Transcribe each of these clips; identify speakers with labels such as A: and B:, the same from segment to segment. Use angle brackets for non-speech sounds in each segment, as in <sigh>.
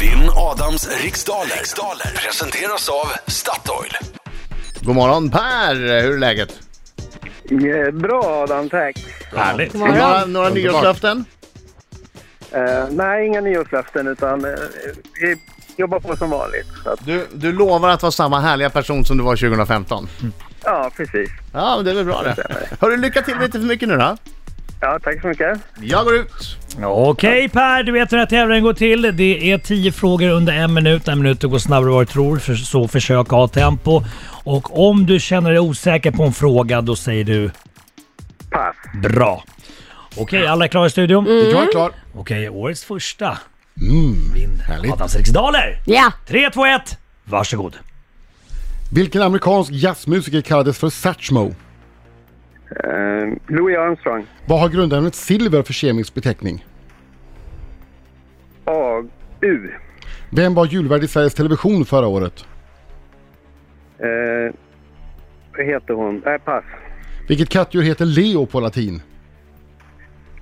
A: Vinn Adams riksdaler. riksdaler presenteras av Statoil.
B: God morgon Per! Hur är läget?
C: Ja, Eh, Bra Adam, tack.
D: Härligt.
B: Har du Några, några nyårslöften?
C: Eh, nej, inga nyårslöften utan eh, vi jobbar på som vanligt. Så att,
B: Du, du lovar att vara samma härliga person som du var 2015.
C: ja, precis.
B: Ja, men det är väl bra det. Hörru, lycka till med lite för mycket nu då.
C: Ja, tack så mycket.
B: Jag går ut.
D: Okej Per, du vet hur den här tävlingen går till. Det är 10 frågor under en minut. En minut går snabbare än vad du tror, för- så försök ha tempo. Och om du känner dig osäker på en fråga, då säger du
C: Pass.
D: bra. Okej, alla är klara i studion?
E: Mm.
B: Jag är klar.
D: Okej, årets första. Vinn Adams riksdaler!
F: Ja,
D: 3, 2, 1, varsågod.
E: Vilken amerikansk jazzmusiker kallades för Satchmo?
C: Eh, Louis Armstrong.
E: Vad har grundämnet silver för kemisk beteckning?
C: AU.
E: Vem var julvärd i Sveriges Television förra året?
C: Eh, vad heter hon? Eh, pass.
E: Vilket kattdjur heter Leo på latin?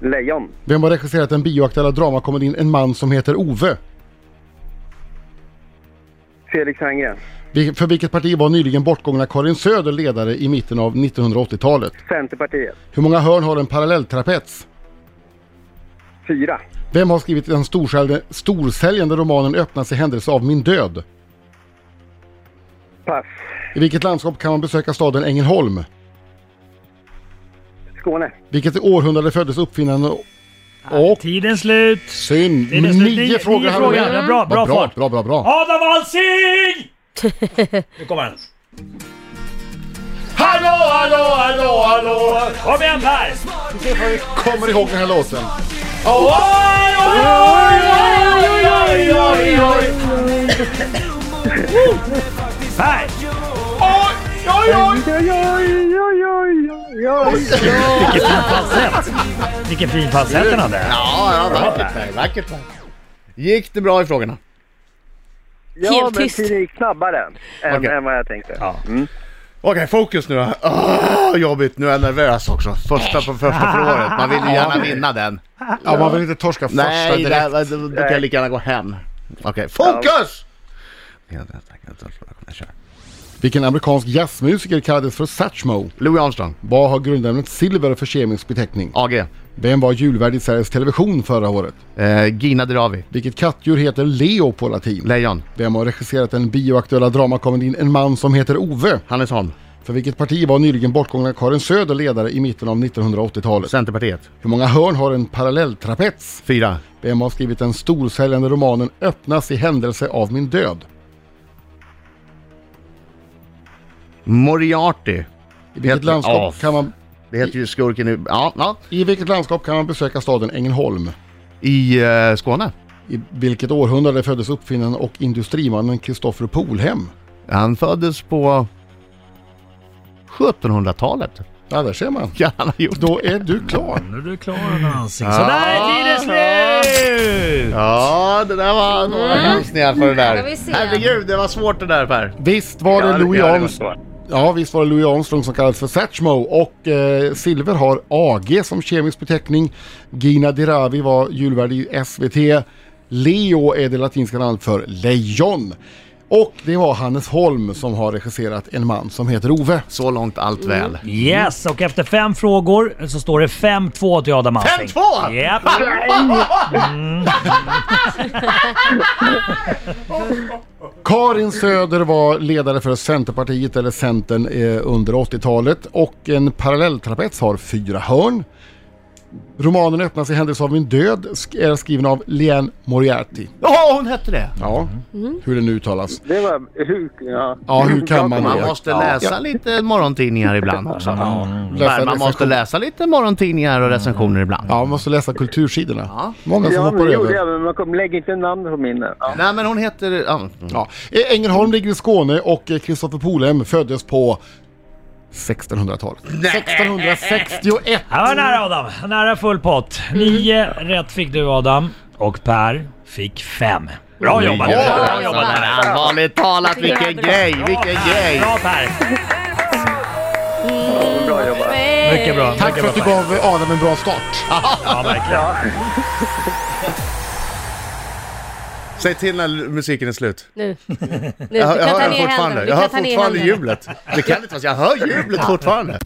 C: Lejon.
E: Vem har regisserat den bioaktuella dramakomedin En man som heter Ove?
C: Felix Herngren.
E: Vil- För vilket parti var nyligen bortgångna Karin Söder ledare i mitten av 1980-talet?
C: Centerpartiet.
E: Hur många hörn har en parallelltrapets?
C: Fyra.
E: Vem har skrivit den storsäljande, storsäljande romanen Öppnas i händelse av min död?
C: Pass.
E: I vilket landskap kan man besöka staden Ängelholm?
C: Skåne.
E: Vilket århundrade föddes uppfinnaren och
D: Tiden slut.
E: synd?
D: är slut. Nio-
E: Nio frågor
D: nio
E: hann du
D: frågor.
E: med.
D: Ja, bra,
E: Vad
D: bra
E: bra,
D: fart.
E: bra, bra, bra.
D: Adam Alsing! Nu kommer han.
E: Hallå, hallå, hallå, hallå!
D: Kom igen Per!
E: Kommer ihåg den här låten?
D: Oj, oj, oj, oj, oj, oj, oj, oj. Per! Vilket fin falsett! Vilken fin falsett den hade!
B: Ja, ja, vackert Per. Vackert Per. Gick det bra i frågorna?
C: Ja,
F: Helt
C: men
F: tyst.
C: tiden gick snabbare än,
B: Okej.
C: än vad jag tänkte.
D: Ja.
B: Okej, fokus nu då. Åh, jobbigt. Nu är jag nervös också. Första på första frågan. Man vill ju gärna vinna den.
E: Ja, man vill inte torska första
B: Nej,
E: direkt.
B: där, då, då kan jag lika gärna gå hem. Okej, fokus!
E: Vilken amerikansk jazzmusiker kallades för Satchmo?
B: Louis Armstrong,
E: Vad har grundämnet silver för kemisk beteckning?
B: AG,
E: Vem var julvärd i Sveriges Television förra året?
B: eh, Gina Dirawi,
E: Vilket kattdjur heter Leo på latin?
B: Lejon,
E: Vem har regisserat den bioaktuella dramakomedin En man som heter Ove?
B: Hannes Holm,
E: För vilket parti var nyligen bortgångna Karin Söder ledare i mitten av 1980-talet?
B: Centerpartiet,
E: Hur många hörn har en parallelltrapets?
B: fyra.
E: Vem har skrivit den storsäljande romanen Öppnas i händelse av min död?
B: Moriarty,
E: I vilket,
B: Heter-
E: landskap
B: ja.
E: kan man,
B: det heter ju skurken i... Ja, ja.
E: I vilket landskap kan man besöka staden Ängelholm?
B: I eh, Skåne.
E: I vilket århundrade föddes uppfinnaren och industrimannen Kristoffer Polhem?
B: Han föddes på 1700-talet.
E: Ja, där ser man.
B: Kan han ha gjort.
E: Då är du klar.
D: Nu är du klar Adam Alsing. Sådär är tiden slut!
B: Ja, det där var några chansningar för Mm. det
F: Ska vi
B: där.
F: se.
B: Herregud, det var svårt det där Per.
E: Visst var
C: Ja,
E: det Louis
C: ja, det var
E: Armstrong?
C: svårt.
E: Ja, visst var det Louis Armstrong som kallades för Satchmo och eh, silver har AG som kemisk beteckning. Gina Dirawi var julvärd i SVT. Leo är det latinska namnet för lejon. Och det var Hannes Holm som har regisserat En man som heter Ove.
B: Så långt allt väl.
D: Yes, och efter fem frågor så står det 5-2 till Adam Alsing.
B: 5-2?
D: Japp.
E: Karin Söder var ledare för Centerpartiet, eller Centern, eh, under 80-talet och en parallelltrapets har fyra hörn. Romanen öppnas i händelse av min död sk- är skriven av Leanne Moriarty.
B: Ja, hon hette det.
E: Ja,
F: Mm.
E: hur den nu uttalas.
C: Det var... Hur, ja.
E: Ja, hur kan man
B: Man
E: det?
B: måste läsa lite morgontidningar ibland också.
E: Läsa
F: Mm.
B: Per, man måste
E: recension.
B: läsa lite morgontidningar och recensioner ibland.
E: Ja, man måste läsa kultursidorna. Många som
C: Ja, men
E: hoppar
C: det gjorde
E: över.
C: jag, men man kom, lägg inte namn på minnen. Ja.
B: Nej men hon heter... Ja.
E: Ja. Eh, Ängelholm ligger i Skåne och eh, Kristoffer Polhem föddes på 1600-talet. 1661!
D: Ja, det var nära Adam. Nära full pott. Nio rätt fick du Adam och Per fick fem. Bra jobbat! Bra jobbat
B: Alltså,
D: Per!
B: Allvarligt talat, vilken
F: Bra.
B: grej, vilken grej!
D: Bra Per!
C: Bra jobbat.
D: Mycket bra.
E: Tack
D: mycket
E: för att du
D: bra,
E: gav eh, Adam en bra start.
D: Per. Ja, verkligen.
B: Säg till när l- musiken är slut. <laughs>
F: Nu. nu. Du
B: Jag, hör- jag
F: kan ta
B: hör
F: ner händerna.
B: fortfarande,
F: Du
B: jag hör
F: kan ta ner
B: fortfarande
F: händerna.
B: jublet. Det kan inte vara så, jag hör jublet fortfarande.